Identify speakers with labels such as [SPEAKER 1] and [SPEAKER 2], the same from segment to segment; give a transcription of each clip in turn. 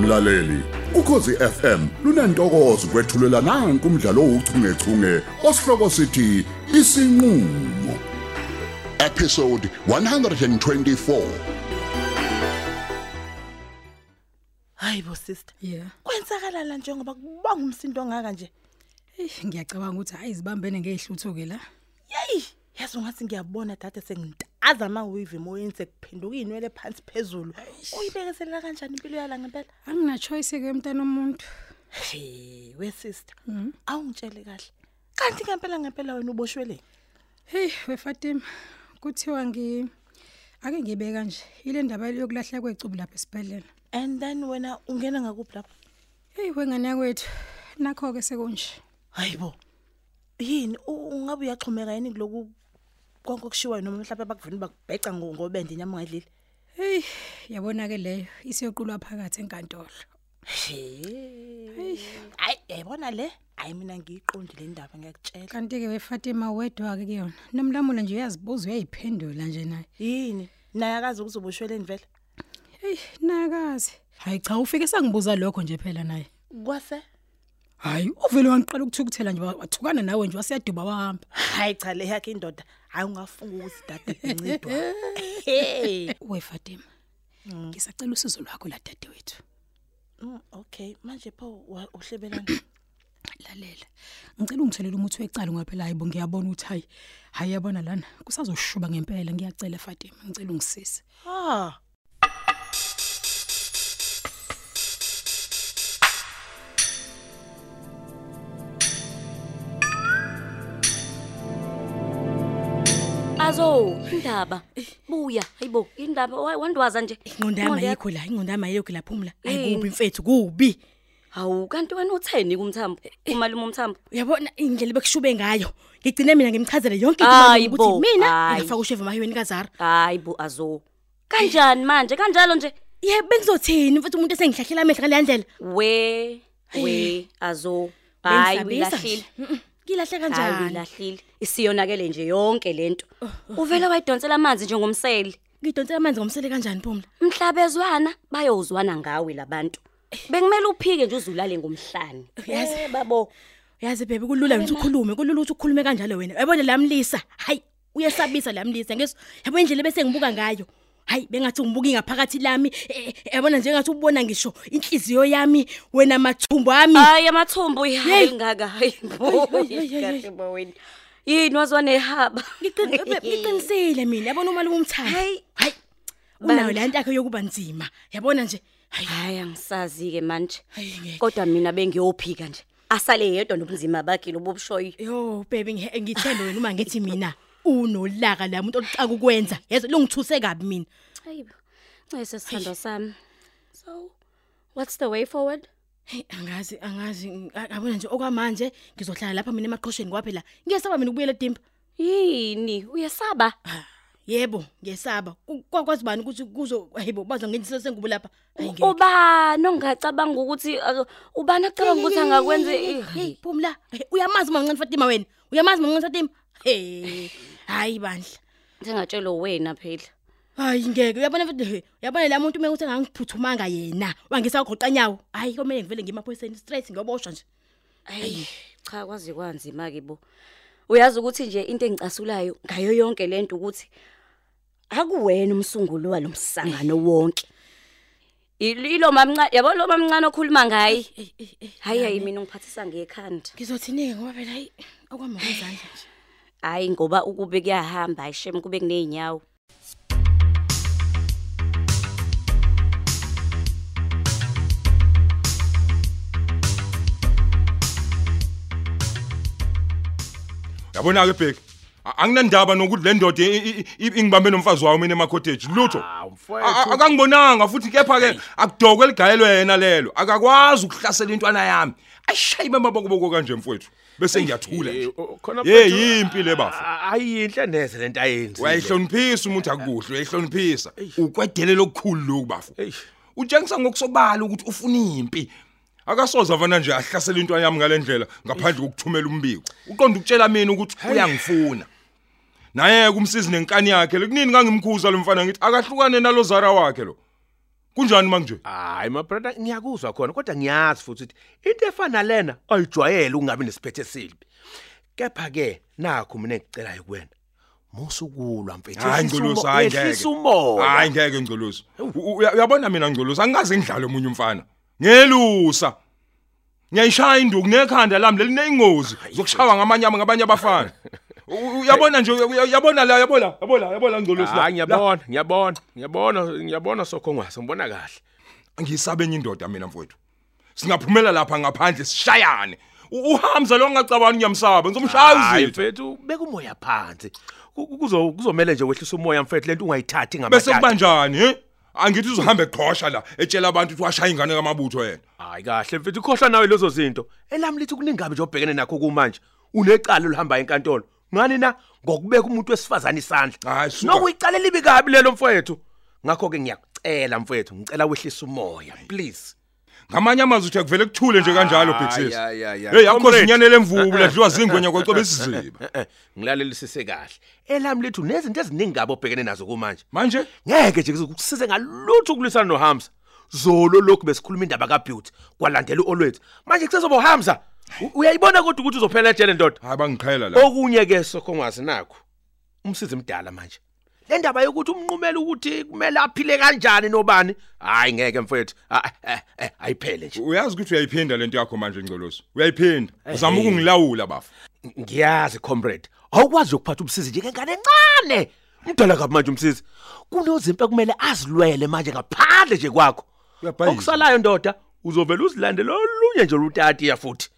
[SPEAKER 1] mlaleli ukhosi FM lunantokozo kwethulela nange kumdlalo ouchungechunge osihloko sithi isinqulo episode 124
[SPEAKER 2] hayibo sister
[SPEAKER 3] Yeah.
[SPEAKER 2] kwenzakala la njengoba kubanga umsindo ongaka nje
[SPEAKER 3] Eish ngiyacabanga ukuthi hayi zibambene ngezihluthu ke la.
[SPEAKER 2] yeyi yazi ungathi ngiyabona dade sengintaza amawivi emoyeni sekuphenduka iy'nwele phansi phezulu uyibekezelela kanjani impilo yala ngempela
[SPEAKER 3] Angina choice ke mntana omuntu.
[SPEAKER 2] he wesister awungitshele kahle kanti ngempela ngempela wena uboshweleni
[SPEAKER 3] Hey wefatima kuthiwa ngi ake ngibe kanje ile ndaba yokulahla kwecubu lapha esibhedlela.
[SPEAKER 2] and then wena ungena ngakuphi lapho
[SPEAKER 3] Hey wengane yakwethu nakho ke sekunje.
[SPEAKER 2] hayibo yini u- ungabe uyaxhumeka yini kuloku konke okushiwayo noma mhlawumbe bakuvini bakubheca ngo- ngobende inyama ungayidlile
[SPEAKER 3] Hey yabona ke leyo isiyoqulwa phakathi enkantolo.
[SPEAKER 2] hayi yayibona le hayi mina ngiyiqondi le ndaba ngiyakutshela
[SPEAKER 3] Kanti ke wefatima wedwa ke kuyona. Nomlamulo nje uyazibuza uyayiphendula nje naye.
[SPEAKER 2] yini naye akazi ukuthi ubushweleni vele
[SPEAKER 3] Hey nakazi. Hayi cha ufike sangibuza lokho nje phela naye.
[SPEAKER 2] kwase
[SPEAKER 3] Hayi uvele wangiqala ukuthukuthela nje wa- wathukana nawe nje wasiyaduba wahamba.
[SPEAKER 2] hayi cha le yakhe indoda hayi ungafunga ukuthi dade incedwa hey
[SPEAKER 3] We Fatima. Ngisacela usizo lwakho la dadewethu.
[SPEAKER 2] Mm, okay manje pho wa- uhlebelana
[SPEAKER 3] Lalela. Ngicela ungithelele umuthi wecala ngaphela hayibo ngiyabona ukuthi hayi hayi yabona lana kusazoshuba ngempela ngiyacela Fatima ngicela ungisize.
[SPEAKER 2] ha
[SPEAKER 4] azo indaba buya hayibo indaba wa- wandwaza nje
[SPEAKER 5] Ingqondama
[SPEAKER 4] Ingqondo
[SPEAKER 5] yikho
[SPEAKER 4] yakho-
[SPEAKER 5] la, ingqondama yikho la phumla.
[SPEAKER 4] Yini?
[SPEAKER 5] Ayi kubi mfethu, kubi.
[SPEAKER 4] hawu kanti wena utheni kumthambo umalume umthambo
[SPEAKER 5] Uyabona indlela bekushube ngayo. Ngigcine mina ngimchazele yonke into
[SPEAKER 4] Hayi
[SPEAKER 5] umalume
[SPEAKER 4] bo,
[SPEAKER 5] ukuthi mina
[SPEAKER 4] hayi.
[SPEAKER 5] ngifaka usheva mahayweni kaZara.
[SPEAKER 4] hayibo azo kanjani manje kanjalo nje
[SPEAKER 5] Ye bengizothini mfethu umuntu esengihlahlela amehla kalandlela.
[SPEAKER 4] we we azo hayi uyilahlile
[SPEAKER 5] Ngilahle
[SPEAKER 4] hayi
[SPEAKER 5] kanjani?
[SPEAKER 4] uyilahlile isiyonakele nje yonke lento uvela wayidonsela amanzi njengomseli
[SPEAKER 5] Ngidonsela amanzi ngomsele kanjani phumla?
[SPEAKER 4] mhlabezwana bayozwana ngawe labantu bekumele uphike nje uzulale ngomhlani
[SPEAKER 5] Yazi.
[SPEAKER 4] Eh, babo
[SPEAKER 5] Uyazi bebe kulula nje ukukhuluma, kulula ukuthi ukhulume kanjalo wena. Uyabona lamlisa. Hayi uyesabisa lamlisa. Ngeso yabona indlela bese ngibuka ngayo. Hayi bengathi ngibuka ingaphakathi lami. Eh, eh, Yabona njengathi ubona ngisho inhliziyo yami, wena mathumbu ami.
[SPEAKER 4] hayi amathumbu hayi
[SPEAKER 5] Yeyi.
[SPEAKER 4] ngaka hayi bo
[SPEAKER 5] Hayi, hayi, hayi, hayi.
[SPEAKER 4] kahle bo wena yini wazwa nehaba
[SPEAKER 5] Ngiqin- be- ngiqinisile mina yabona uma lumthanda
[SPEAKER 4] hayi
[SPEAKER 5] hayi unayo
[SPEAKER 4] Bandla.
[SPEAKER 5] le ntakho yokuba nzima yabona nje hayi
[SPEAKER 4] hayi angisazi ke manje
[SPEAKER 5] hayi ngeke
[SPEAKER 4] kodwa mina bengiyophika nje asale yedwa nobunzima bakhe lobubushoyo
[SPEAKER 5] yo baby ngihe- ngithembe wena uma ngithi mina unolaka la muntu olucaka ukwenza yezo lungithuse kabi mina
[SPEAKER 4] hayi ncese sithando sami so what's the way forward
[SPEAKER 5] hey angazi angazi ng- a- yabona nje okwamanje ngizohlala lapha mina emaqhosheni kwaphela ngiyesaba mina ukubuyela edimba
[SPEAKER 4] yini uyesaba
[SPEAKER 5] Ah, yebo ngiyesaba Ku- kwakwazi bani ukuthi kuzo hayibo bazo ngenziso sengubo lapha hayi ngeke
[SPEAKER 4] ubani ongacabanga ukuthi uh, ubani acabanga ukuthi angakwenze
[SPEAKER 5] hey phumla Hey, uyamazi uma ngincane Fatima wena uyamazi uma ngincane Fatima hey hayi bandla
[SPEAKER 4] njengatshelo wena phela
[SPEAKER 5] hayi ngeke uyabona futhi he, uyabona la muntu mekuthi angiphuthumanga yena wangisagoqa nyawo hayi komele ngivele ngimaphoyiseni straight ngiyoboshwa nje
[SPEAKER 4] Ayi cha kwazi kwanzima ke bo. Uyazi ukuthi nje into engicasulayo ngayo yonke lento ukuthi akuwena umsunguli wa lomsangano wonke. Ililo mamncane yabo lo mamncane okhuluma ngaye. Hayi hayi mina ngiphathisa ngekhanda.
[SPEAKER 5] ngizothini ke ngoba phela hayi okwamazandla nje
[SPEAKER 4] Hayi ngoba ukube kuyahamba ayishem kube kuneyinyawo.
[SPEAKER 6] yabona ke bheki a- anginandaba nokuthi le ndoda i- i- i- ingibambe nomfazi wayo mina emakhoteji lutho A- a- akangibonanga futhi kepha ke akudoko eligayelwe yena lelo akakwazi ukuhlasela intwana yami ayishaye bamabokoboko kanje mfowethu bese ngiyathula nje
[SPEAKER 7] oh,
[SPEAKER 6] ye yimpi le bafa
[SPEAKER 8] Ah, ayinhle neze lento ayenzi
[SPEAKER 6] uyayihloniphisa umuntu akukuhle uyayihloniphisa ukwedelela okukhulu lokhu bafu
[SPEAKER 8] Eish.
[SPEAKER 6] utshengisa ngokusobala ukuthi ufuna impi akasoze avana nje ahlasela intwana yami ngale ndlela ngaphandle kokuthumela umbiko uqonda ukutshela mina ukuthi uyangifuna naye kumsizi nenkani yakhe lekunini ngangimkhuza lo mfana ngithi akahlukane nalozara wakhe lo kunjani manje
[SPEAKER 8] hayi my brother ngiyakuzwa khona kodwa ngiyazi futhi ukuthi into efana lena ayijwayele ukungabi nesiphethe esibi kepha ke nakho mina ngicela ukwena musukulwa mfethu
[SPEAKER 6] hayi ngcolosi hayi ngeke
[SPEAKER 7] Oh,
[SPEAKER 6] hayi
[SPEAKER 8] umoya
[SPEAKER 6] ngeke ngcolosi U- uya- uyabona mina ngcolosi angikaze ngidlale omunye umfana ngelusa ngiyayishaya induku nekhanda lami lelineyingozi zokushawa ngamanyama ngabanye abafana U- u- uyabona nje uya- uya- uyabona la uyabona uyabona uyabona ngcolosi la.
[SPEAKER 8] hayi
[SPEAKER 6] La,
[SPEAKER 8] ngiyabona ngiyabona ngiyabona ngiyabona sokhongwase ngibona kahle
[SPEAKER 6] ngiyisabe enye indoda mina mfowethu singaphumela lapha ngaphandle sishayane U- uhamza lo ngingacabani ngiyamsaba ngizomshaya
[SPEAKER 8] hayi
[SPEAKER 6] uzitho
[SPEAKER 8] mfethu beka umoya phansi Ku- ku- kuzo kuzomela nje wehlisa umoya mfethu lento ungayithathi
[SPEAKER 6] bese
[SPEAKER 8] ngamatata
[SPEAKER 6] kubanjani he angithi uzohamba eqhosha la etshela abantu ukuthi washaya ingane kamabutho yena
[SPEAKER 8] hayi kahle mfethu khohlwa nawe lezo zinto elami lithi kuningabe nje obhekene nakho kumanje unecala olihamba enkantolo ngani na ngokubeka umuntu wesifazane isandla
[SPEAKER 6] Hayi, suka.
[SPEAKER 8] nokuyicala libi kabi lelo mfethu ngakho ke ngiyakucela mfethu ngicela wehlisa umoya please
[SPEAKER 6] ngamanye amazwi uthi akuvele kuthule nje kanjalo
[SPEAKER 8] Hayi,
[SPEAKER 6] bhekisisi
[SPEAKER 8] hayi, hayi, hayi.
[SPEAKER 6] hey akho
[SPEAKER 8] Comrade.
[SPEAKER 6] sinyanele emvubu ladliwa zingwenya kwacobe isiziba
[SPEAKER 8] Eh, eh, ngilalelisise kahle elami lithi unezinto eziningi kabi obhekene nazo kumanje
[SPEAKER 6] manje
[SPEAKER 8] ngeke nje kusize ngalutho ukulwisana nohamza zolo lokhu besikhuluma indaba kabeauty kwalandela uolwethu manje kusezoba uhamza U- uyayibona kodwa ukuthi uzophela ejele ndoda
[SPEAKER 6] hayi bangiqhela la
[SPEAKER 8] okunye ke sokhongwazi nakho umsizi mdala manje le ndaba yokuthi umnqumela ukuthi kumele aphile kanjani nobani hayi ngeke mfethu Ah, eh, eh, ayiphele nje
[SPEAKER 6] uyazi ukuthi uyayiphinda lento yakho manje ngcolosi uyayiphinda uzama ukungilawula bafa
[SPEAKER 8] ngiyazi comrade awukwazi ukuphatha umsizi njengengane encane mdala kabi manje umsizi kunozimpe kumele azilwele manje ngaphandle nje kwakho
[SPEAKER 6] Uyabhayiza.
[SPEAKER 8] okusalayo ndoda uzovela uzilandele olunye nje olutatiya futhi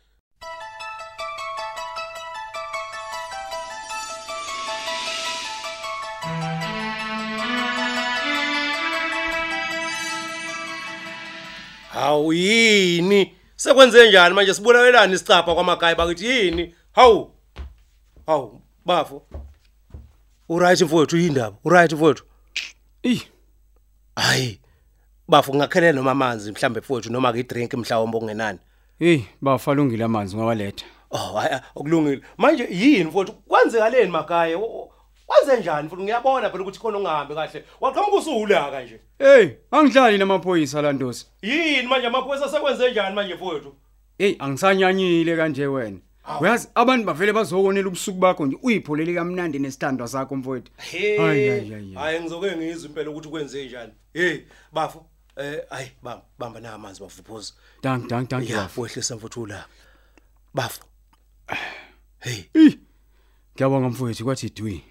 [SPEAKER 7] hawu yini sekwenze njani manje sibulawelani isicapha kwamagaya bakithi yini hawu hawu bafo uright mfowethu yindaba uright mfowethu
[SPEAKER 9] Ey,
[SPEAKER 7] hayi bafo ngingakhelela noma amanzi mhlambe mfowethu noma ke idrink mhlawumbe ongenani
[SPEAKER 9] hey, bafalungile amanzi ngawaletha.
[SPEAKER 7] oh hayi okulungile manje yini mfowethu kwenzekaleni magaya kwenze njani mfowethu ngiyabona phela ukuthi khona ongahambi kahle waqhamuka usuhulaka nje
[SPEAKER 9] Hey, angidlali namaphoyisa landosi.
[SPEAKER 7] yini manje amaphoyisa sekwenze njani manje mfowethu
[SPEAKER 9] Hey, angisanyanyile kanje wena. Uyazi abantu bavele bazokonela ubusuku bakho nje uyipholele kamnandi nesithandwa sakho mfowethu.
[SPEAKER 7] Hey.
[SPEAKER 9] Hayi, hayi, hayi, hayi.
[SPEAKER 7] Hayi ngizoke ngizwe impela ukuthi kwenze njani. Hey bafo eh hayi bamba bamba na amanzi bavuphuza.
[SPEAKER 9] Dank, dank, dank
[SPEAKER 7] Ya
[SPEAKER 9] bafo.
[SPEAKER 7] wehlisa mfuthu la. Bafo. Hey
[SPEAKER 9] Ey. Ngiyabonga mfowethu kwathi dwi.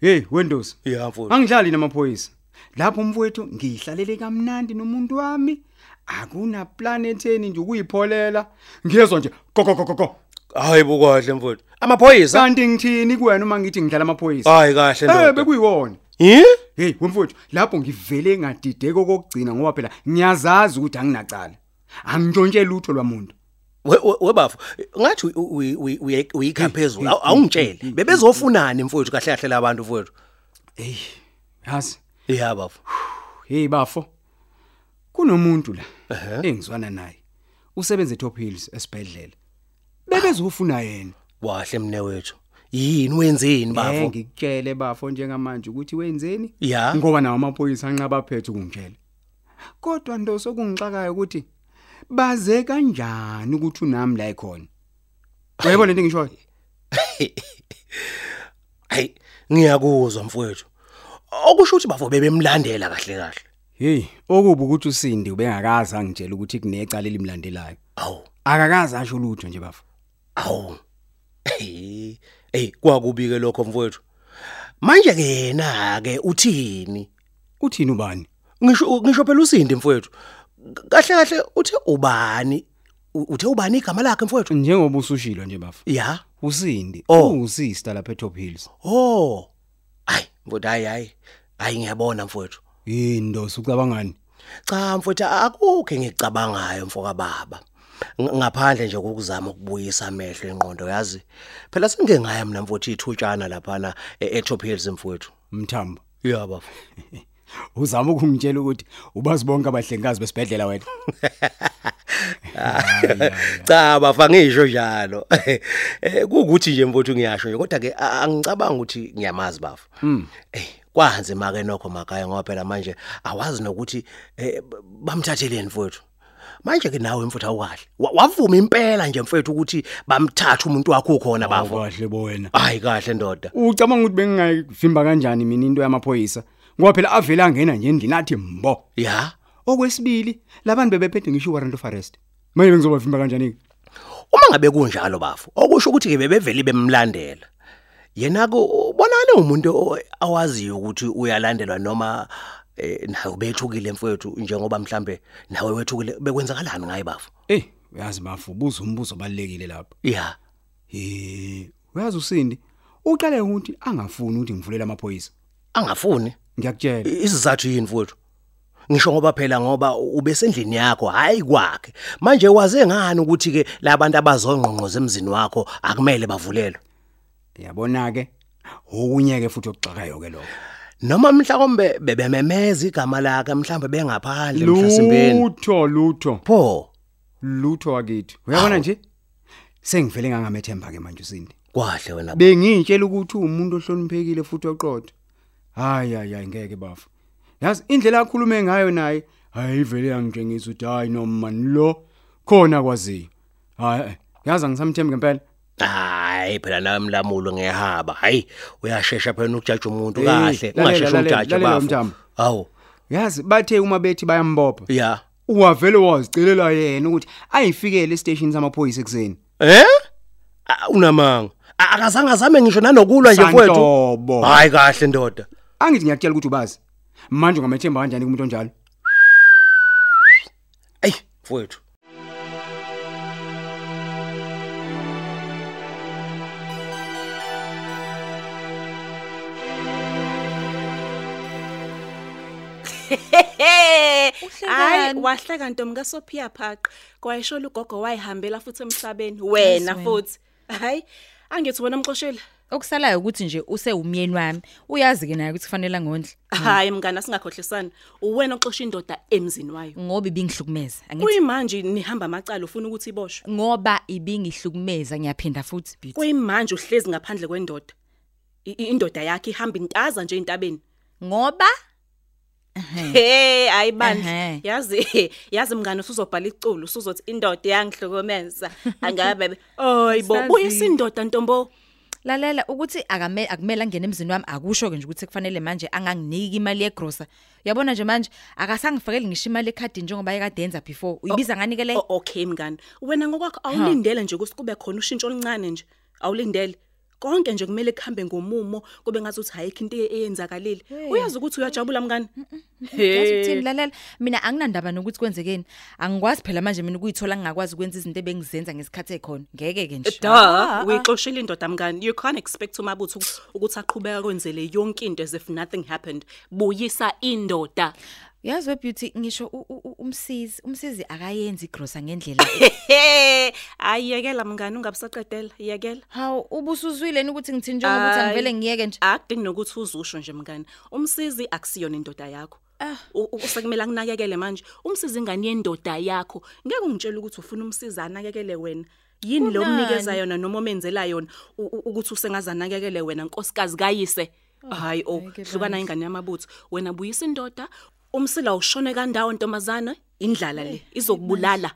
[SPEAKER 9] Hey, wendosi.
[SPEAKER 7] ya mfuthu.
[SPEAKER 9] Angidlali namaphoyisa. Lapho mfowethu ngihlalele kamnandi nomuntu wami. Akuna planet eni nje ukuyipholela. Ngiyezwa nje gogo gogo gogo.
[SPEAKER 7] Hayi bukwahle mfuthu. Amaphoyisa.
[SPEAKER 9] Kanti ngithini kuwena uma ngithi ngidlala amaphoyisa?
[SPEAKER 7] Hayi kahle
[SPEAKER 9] Eh
[SPEAKER 7] ndoda.
[SPEAKER 9] bekuyiwona.
[SPEAKER 7] Hi?
[SPEAKER 9] Hey mfowethu, lapho ngivele ngadideka kokugcina ngoba phela ngiyazazi ukuthi anginacala. Angintshontshe lutho lwamuntu.
[SPEAKER 7] We we- we bafo. Ngathi uy- uy- uy- uy- uyikhaphezulu Awu- awungitshele. Bebezofunani mfuthu kahle kahle labantu mfuthu.
[SPEAKER 9] Hey, yazi,
[SPEAKER 7] Ya bafo.
[SPEAKER 9] hey bafo. Kunomuntu la
[SPEAKER 7] Ehhe.
[SPEAKER 9] engizwana naye. Usebenza eTop Hills esibhedlela. Bebezofuna yena.
[SPEAKER 7] Wahle mne wethu. Yini wenzeni
[SPEAKER 9] Eh,
[SPEAKER 7] bafo?
[SPEAKER 9] ngikutshele bafo njengamanje ukuthi wenzeni?
[SPEAKER 7] Ya.
[SPEAKER 9] Ngoba nawo amaphoyisa anqaba phethe ukungitshela. Kodwa nto sokungixakayo ukuthi baze kanjani ukuthi unami la ekhona. Uyayibona into engishoyo?
[SPEAKER 7] Hayi ngiyakuzwa mfowethu. Okusho ukuthi bavo bebemlandela kahle kahle.
[SPEAKER 9] Hey, okuba ukuthi uSindi ubengakaza ngitshela ukuthi kunecala elimlandelayo.
[SPEAKER 7] Awu,
[SPEAKER 9] Akakaza asho lutho nje bafu.
[SPEAKER 7] awu. Hey, hey kwakubike lokho mfowethu. Manje ke yena ke uthini?
[SPEAKER 9] Uthini ubani?
[SPEAKER 7] Ngisho ngisho phela usindi mfowethu. Kahle kahle uthe ubani? U- Uthe ubani igama lakhe mfowethu?
[SPEAKER 9] Njengoba usushilo nje bafu.
[SPEAKER 7] Ya.
[SPEAKER 9] uSindi
[SPEAKER 7] Oh.
[SPEAKER 9] uSista lapha eTop Hills.
[SPEAKER 7] Oh. Hayi, mfowethu hayi hayi. Hayi ngiyabona mfowethu.
[SPEAKER 9] Yini ndosi ucabangani?
[SPEAKER 7] Cha mfowethu akukho engicabangayo mfoka baba. Ng- Ngaphandle nje kokuzama ukubuyisa amehlo engqondo yazi. Phela sengike ngaya mina mfowethu ithutshana laphana eTop Hills mfowethu.
[SPEAKER 9] Mthambo.
[SPEAKER 7] Yeah baba.
[SPEAKER 9] Uzama ukungitshela ukuthi ubazi bonke abahlengikazi besibhedlela wena.
[SPEAKER 7] Cha baba ngisho njalo. Eh, Kukuthi nje mfowethu ngiyasho nje kodwa ke a- angicabanga ukuthi ngiyamazi baba. Eh kwahanzima ke nokho makaya ngoba phela manje awazi nokuthi eh, b- bamthatheleni mfowethu manje ke nawe mfuthu awukahle Wa- wavuma impela nje mfowethu ukuthi bamthatha umuntu wakho ukhona bafo
[SPEAKER 9] kahle bo wena
[SPEAKER 7] hayi kahle ndoda
[SPEAKER 9] ucabanga ukuthi bengingayivimba kanjani mina into yamaphoyisa ngoba phela avele angena nje endlini athi mbo
[SPEAKER 7] ya
[SPEAKER 9] okwesibili labantu bebephethe ngisho warrant of arrest manje bengizobavimba kanjani ke
[SPEAKER 7] uma ngabe kunjalo bafo okusho ukuthi ke bebeveli bemlandela yena ke ubonakale umuntu o- awaziyo ukuthi uyalandelwa noma eh, nawe ubethukile mfowethu njengoba mhlambe nawe wethukile bekwenzakalani ngaye bafo
[SPEAKER 9] Eh, uyazi bafu buza umbuzo obalekile lapho.
[SPEAKER 7] ya
[SPEAKER 9] Eh, uyazi usindi uqale ukuthi angafuni ukuthi ngivulele amaphoyisa.
[SPEAKER 7] angafuni
[SPEAKER 9] Ngiyakutshela.
[SPEAKER 7] isizathu yini mfowethu ngisho ngoba phela ngoba ubesendlini yakho hayi kwakhe manje waze ngani ukuthi ke labantu abazongqonqoza emzini wakho akumele bavulelwe
[SPEAKER 9] Yabona ke, okunyeke futhi okuxakayo ke lokho.
[SPEAKER 7] noma mhlawumbe bebememeza igama lakhe mhlawumbe bengaphandle mhlasimbeni
[SPEAKER 9] Lutho, lutho,
[SPEAKER 7] pho
[SPEAKER 9] lutho wakithi. Uyabona nje? Sengivele ngangamethemba ke manje usindi.
[SPEAKER 7] kwahle wena
[SPEAKER 9] Bengitshela ukuthi umuntu ohloniphekile futhi oqotho. Hayi hayi hayi, ngeke bafu. Yazi indlela akhulume ngayo naye, hayi vele yangitshengisa ukuthi hayi noma lo khona kwazi. Hayi, yazi angisamthembi ngempela.
[SPEAKER 7] hayi phela nawe mlamulo ngehaba hayi uyashesha phela ukujaja umuntu
[SPEAKER 9] Hey,
[SPEAKER 7] kahle
[SPEAKER 9] lalela,
[SPEAKER 7] ungashesha
[SPEAKER 9] lalela,
[SPEAKER 7] ukujaja
[SPEAKER 9] lalela
[SPEAKER 7] bafo
[SPEAKER 9] Mtambo.
[SPEAKER 7] awu
[SPEAKER 9] Yazi bathe uma bethi bayambopha.
[SPEAKER 7] ya
[SPEAKER 9] Uwavele wazicelela yena ukuthi ayifikele estation samaphoyisa ekseni.
[SPEAKER 7] eh Ah, unamanga Ah, akazange azame ngisho nanokulwa nje kwethu
[SPEAKER 9] Santobo.
[SPEAKER 7] hayi kahle ndoda
[SPEAKER 9] Angithi ngiyakutshela ukuthi ubazi. Manje ungamethemba kanjani kumuntu onjalo?
[SPEAKER 7] eyi mfowethu
[SPEAKER 10] hayi wahleka ntombi kasophia phaqa kwayishola ugogo wayihambela futhi emhlabeni wena futhi hayi angithi wena mxoshela
[SPEAKER 11] Okusalayo ukuthi nje use umyeni wami. Uyazi ke naye ukuthi kufanele ngondle
[SPEAKER 10] hayi mngana singakhohlisani uwena oxosha indoda emzini wayo
[SPEAKER 11] ngoba ibingihlukumeza. Angithi
[SPEAKER 10] kuyimanje nihamba amacala ufuna ukuthi iboshwe
[SPEAKER 11] ngoba ibingihlukumeza ngiyaphinda futhi bithi.
[SPEAKER 10] kuyimanje uhlezi ngaphandle kwendoda I- i- indoda yakhe ihamba intaza nje entabeni
[SPEAKER 11] Ngoba
[SPEAKER 10] hey hayi bandla
[SPEAKER 11] Ehhe.
[SPEAKER 10] yazi yazi mngane usuzobhala iculo usuzothi indoda yangihlokomeza angabe oyibo
[SPEAKER 11] Sazi.
[SPEAKER 10] buya isindoda ntombo
[SPEAKER 11] lalela ukuthi akame akumele angene emzini wami akusho ke nje ukuthi kufanele manje anganginiki imali yegrosa. Uyabona nje manje akasangifakeli ngisho imali ekhadi njengoba ayekade enza before. Uyibiza ngani ke le?
[SPEAKER 10] O- okay mngane wena ngokwakho awulindele nje ukuthi kube khona ushintsho oluncane nje awulindele konke nje kumele kuhambe ngomumo kube ngazuthi hayikho into e- eyenzakalile uyazi ukuthi uyajabula mngane
[SPEAKER 11] Yazi uthini lalela mina anginandaba nokuthi kwenzekeni angikwazi phela manje mina ukuyithola ngingakwazi ukwenza izinto ebengizenza ngesikhathi ekhona ngeke ke nje
[SPEAKER 10] da uyixoshile indoda mngane you can't expect umabutho uku- ukuthi aqhubeka kwenzele yonke into as if nothing happened buyisa indoda
[SPEAKER 11] yazi we beauty ngisho u- u- u- umsizi umsizi akayenzi igrosa ngendlela
[SPEAKER 10] ayiyekela mngane ungabusaqedela iyekela
[SPEAKER 11] haw ubusuzwile ni ukuthi ngithini njengoba uthi
[SPEAKER 10] Ayi.
[SPEAKER 11] angivele ngiyeke nje
[SPEAKER 10] akudingi nokuthi uzusho nje mngane umsizi akusiyona indoda yakho U- u- usekumele akunakekele manje umsizi ingane yendoda yakho ngeke ungitshela ukuthi ufuna umsizi anakekele wena yini lo mnikeza yona noma omenzela yona u- u- ukuthi usengazanakekele wena nkosikazi kayise hayi o hlukana ingane yamabutho wena buyisa indoda umsila ushone kandawo ntombazana indlala le izokubulala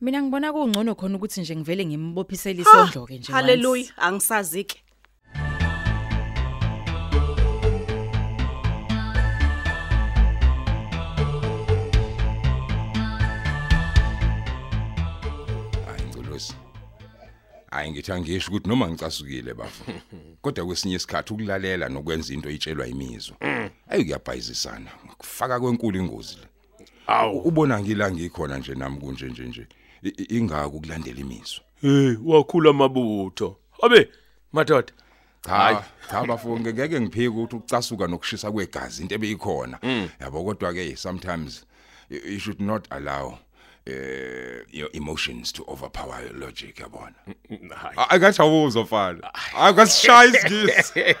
[SPEAKER 11] mina ngibona kungcono khona ukuthi nje ngivele ngimbophisele
[SPEAKER 10] Ah,
[SPEAKER 11] isondlo ke nje once.
[SPEAKER 10] haleluya angisazike
[SPEAKER 6] hayi ngcolosi hayi ngithi angisho ukuthi noma ngicasukile bafo kodwa kwesinye isikhathi ukulalela nokwenza into itshelwa imizwa ayi kuyabhayizisana kufaka kwenkulu ingozi le awu ubona ngila ngikhona nje nami kunje nje nje I- i- ingako ukulandela imizwa
[SPEAKER 8] hey wakhula amabutho abe madoda
[SPEAKER 6] Hayi cha bafo ngeke ngiphike ukuthi ucasuka nokushisa kwegazi into ebeyikhona yabo kodwa ke sometimes you you should not allow eh your emotions to overpower your logic yabona
[SPEAKER 8] hayi
[SPEAKER 6] akathawuzwa fana akasishaya isigisi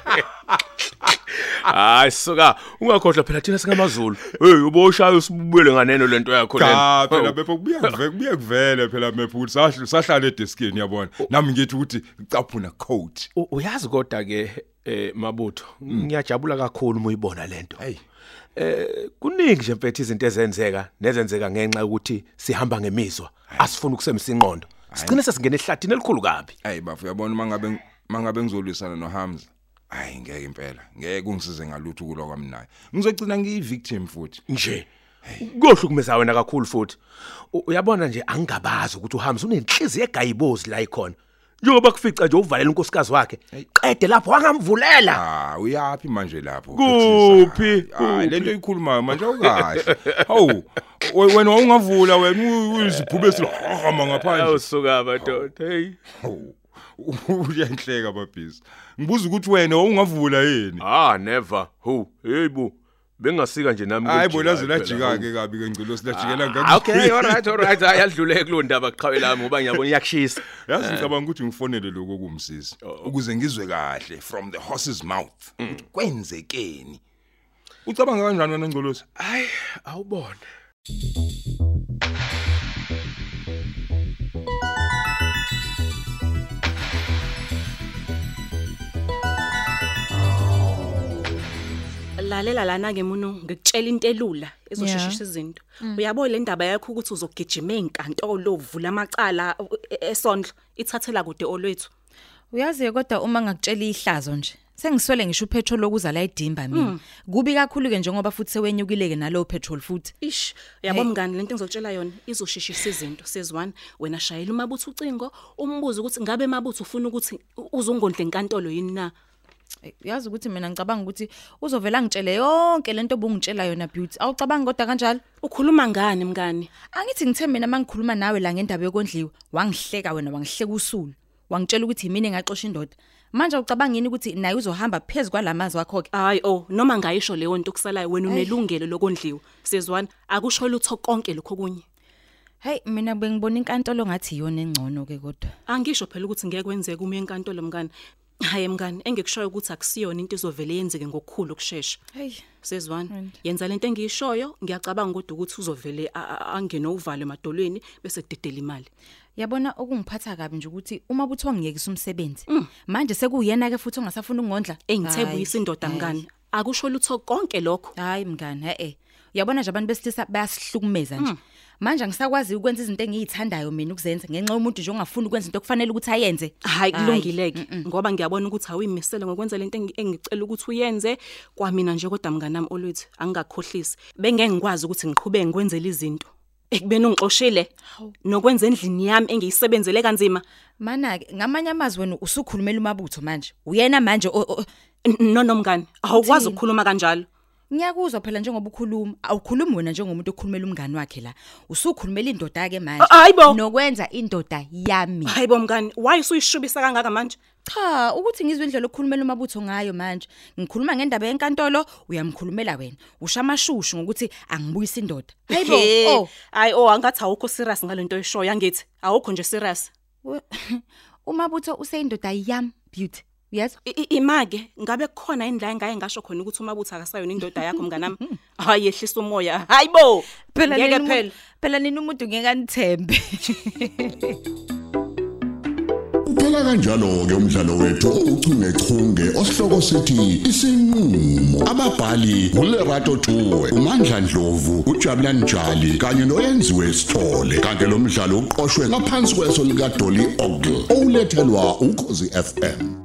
[SPEAKER 8] Hayi suka, ungakhohlwa phela thina singamaZulu. Hey uboshaya usibubule nganeno lento yakho
[SPEAKER 6] Cha
[SPEAKER 7] Oh.
[SPEAKER 6] phela bepho kubuya kuve- kubuye kuvele phela mepho ukuthi sahle- sahlala edeskini yabona. Nami ngithi ukuthi caphuna coat.
[SPEAKER 8] U- uyazi kodwa ke eh mabutho ngiyajabula kakhulu uma uyibona lento hey eh kuningi nje mfethu izinto ezenzeka nezenzeka ngenxa yokuthi sihamba ngemizwa asifuni ukusemisa inqondo sigcine sesingena ehlathini elikhulu kabi
[SPEAKER 6] Hayi bafu uyabona mangabe mangabe ngizolwisana noHamza. Hayi ngeke impela. Ngeke ungisize ngalutho kulwa kwamnaye. Ngizogcina ngiyivictim futhi.
[SPEAKER 8] nje kuyohlukumeza wena kakhulu futhi U- uyabona nje angingabazi ukuthi uhamza unenhliziyo egayibozi la ikhona njengoba kufica nje uvalela unkosikazi wakhe qede lapho wangamvulela
[SPEAKER 6] Ah uyapi manje lapho?
[SPEAKER 8] kuphi
[SPEAKER 6] Hayi lento ikhuluma manje awukahle. Hawu we- wena ungavula wena uzibhube silahama ngaphandle.
[SPEAKER 8] awusuka madoda hey
[SPEAKER 6] uyanhleka babhizi ngibuza ukuthi wena ungavula yini
[SPEAKER 8] Ah never. Who? Yebo. Bengasika nje nami
[SPEAKER 6] hayi
[SPEAKER 8] ukujika
[SPEAKER 6] bo laze
[SPEAKER 8] phela.
[SPEAKER 6] lajika ke kabi ke ngicela silajikela
[SPEAKER 8] Ah, Okay, all right, all right. Ayadluleke kulo ndaba qhawe lami ngoba ngiyabona iyakushisa.
[SPEAKER 6] yazi ngicabanga ukuthi ngifonele lokho kumsisi ukuze ngizwe kahle from the horse's mouth ukuthi kwenzekeni ucabanga kanjani wena ngcolosi
[SPEAKER 8] Hayi, awubona.
[SPEAKER 10] lalela lana ke muno ngikutshela into elula ezosheshisa
[SPEAKER 11] Yeah.
[SPEAKER 10] izinto uyabo le ndaba yakho ukuthi uzogijima einkantolo uvula amacala e- e- esondlo ithathela kude olwethu
[SPEAKER 11] Uyazi ke kodwa uma ngakutshela ihlazo nje sengiswele ngisho upetrol lokuza la idimba mina. Kubi kakhulu ke njengoba futhi sewenyukile ke nalo petrol futhi.
[SPEAKER 10] ish yabo
[SPEAKER 11] Hey.
[SPEAKER 10] mngani lento engizotshela yona izosheshisa izinto sezwane wena shayela umabutho ucingo umbuze ukuthi ngabe mabutho ufuna ukuthi u- uzongondla enkantolo yini na
[SPEAKER 11] Eh, Uyazi ukuthi mina ngicabanga ukuthi uzovela ngitshele yonke lento obungitshela yona beauty. Awucabangi kodwa kanjalo?
[SPEAKER 10] ukhuluma ngani mngani
[SPEAKER 11] Angithi ngithe mina mangikhuluma nawe la ngendaba yokondliwa wangihleka wena wangihleka usulu. Wangitshela ukuthi yimini engaxosha indoda. Manje ucabanga yini ukuthi naye uzohamba phezulu kwalamazi wakho ke?
[SPEAKER 10] hayi oh noma ngayisho leyo nto kusalayo wena unelungelo lokondliwa sezwane akusho lutho konke lokho kunye
[SPEAKER 11] Hey mina bengibona inkantolo ngathi iyona engcono ke kodwa.
[SPEAKER 10] Angisho phela ukuthi ngeke kwenzeke uma enkantolo mngani. Hayi mngani, engikushoyo ukuthi akusiyona into izovele yenzeke ngokukhulu kusheshsha.
[SPEAKER 11] Hey
[SPEAKER 10] Sezwana,
[SPEAKER 11] Right.
[SPEAKER 10] yenza lento engiyishoyo, ngiyacabanga kodwa ukuthi uzovele a- a- angene uvalo emadolweni bese kudedela imali.
[SPEAKER 11] Yabona okungiphatha kabi nje ukuthi uma buthi wangiyekisa umsebenzi.
[SPEAKER 10] Mm.
[SPEAKER 11] Manje sekuyena ke futhi ongasafuna ukungondla.
[SPEAKER 10] Engithebe
[SPEAKER 11] Hayi,
[SPEAKER 10] uyisindoda
[SPEAKER 11] hayi.
[SPEAKER 10] mngani. Akusho lutho konke lokho.
[SPEAKER 11] Hayi mngani, he eh. Uyabona nje abantu besilisa bayasihlukumeza
[SPEAKER 10] Mm.
[SPEAKER 11] nje. Manje angisakwazi ukwenza izinto engiyithandayo mina ukuzenza ngenxa yomuntu nje ongafuni ukwenza into okufanele ukuthi ayenze.
[SPEAKER 10] Hayi kulungileke ngoba ngiyabona ukuthi awuyimisele ngokwenza lento engi- engicela ukuthi uyenze kwamina nje kodwa mngani nami olwethu angingakhohlisi bengeke ngikwazi ukuthi ngiqhubeke ngikwenzele izinto ekubeni ungixoshile nokwenza endlini yami engiyisebenzele kanzima
[SPEAKER 11] Mana ke ngamanye amazwi wena usukhulumela umabutho manje. Uyena manje o- o-
[SPEAKER 10] N- no nomngani
[SPEAKER 11] Uthini?
[SPEAKER 10] awukwazi ukukhuluma kanjalo
[SPEAKER 11] ngiyakuzwa phela njengoba ukhuluma awukhulumi wena njengomuntu okhulumela umngani wakhe la. Usukhulumela indoda ke manje.
[SPEAKER 10] Ah, hayi bo.
[SPEAKER 11] Nokwenza indoda yami.
[SPEAKER 10] hayi bomngani why usuyishubisa kangaka manje
[SPEAKER 11] Cha, ukuthi ngizwe indlela okukhulumela umabutho ngayo manje. Ngikhuluma ngendaba yenkantolo, uyamkhulumela wena. Usha amashushu ngokuthi angibuyisa indoda. Hayibo,
[SPEAKER 10] He,
[SPEAKER 11] oh.
[SPEAKER 10] hayi oh angathi awukho serious ngalento oyishoyo angithi awukho nje serious
[SPEAKER 11] we- Umabutho useyindoda yami, beauty. Yes.
[SPEAKER 10] I- i- imake ngabe kukhona indla engaye ngasho khona ukuthi umabutho akasayona indoda yakho mnganami hayi yehlisa umoya hayi bo ngeke phela
[SPEAKER 11] Phela nina umuntu ngeke anithembe.
[SPEAKER 1] Uphela kanjalo ke umdlalo wethu ouchungechunge osihloko sithi isinqulo. Ababhali uLerato Tuwe, uMandla Dlovu, uJabulani Njali kanye noyenziwe Sithole. Kanti lo mdlalo uqoqwwe ngaphansi kweso lika Dolly Ogle. Olethelwa ukhozi FM.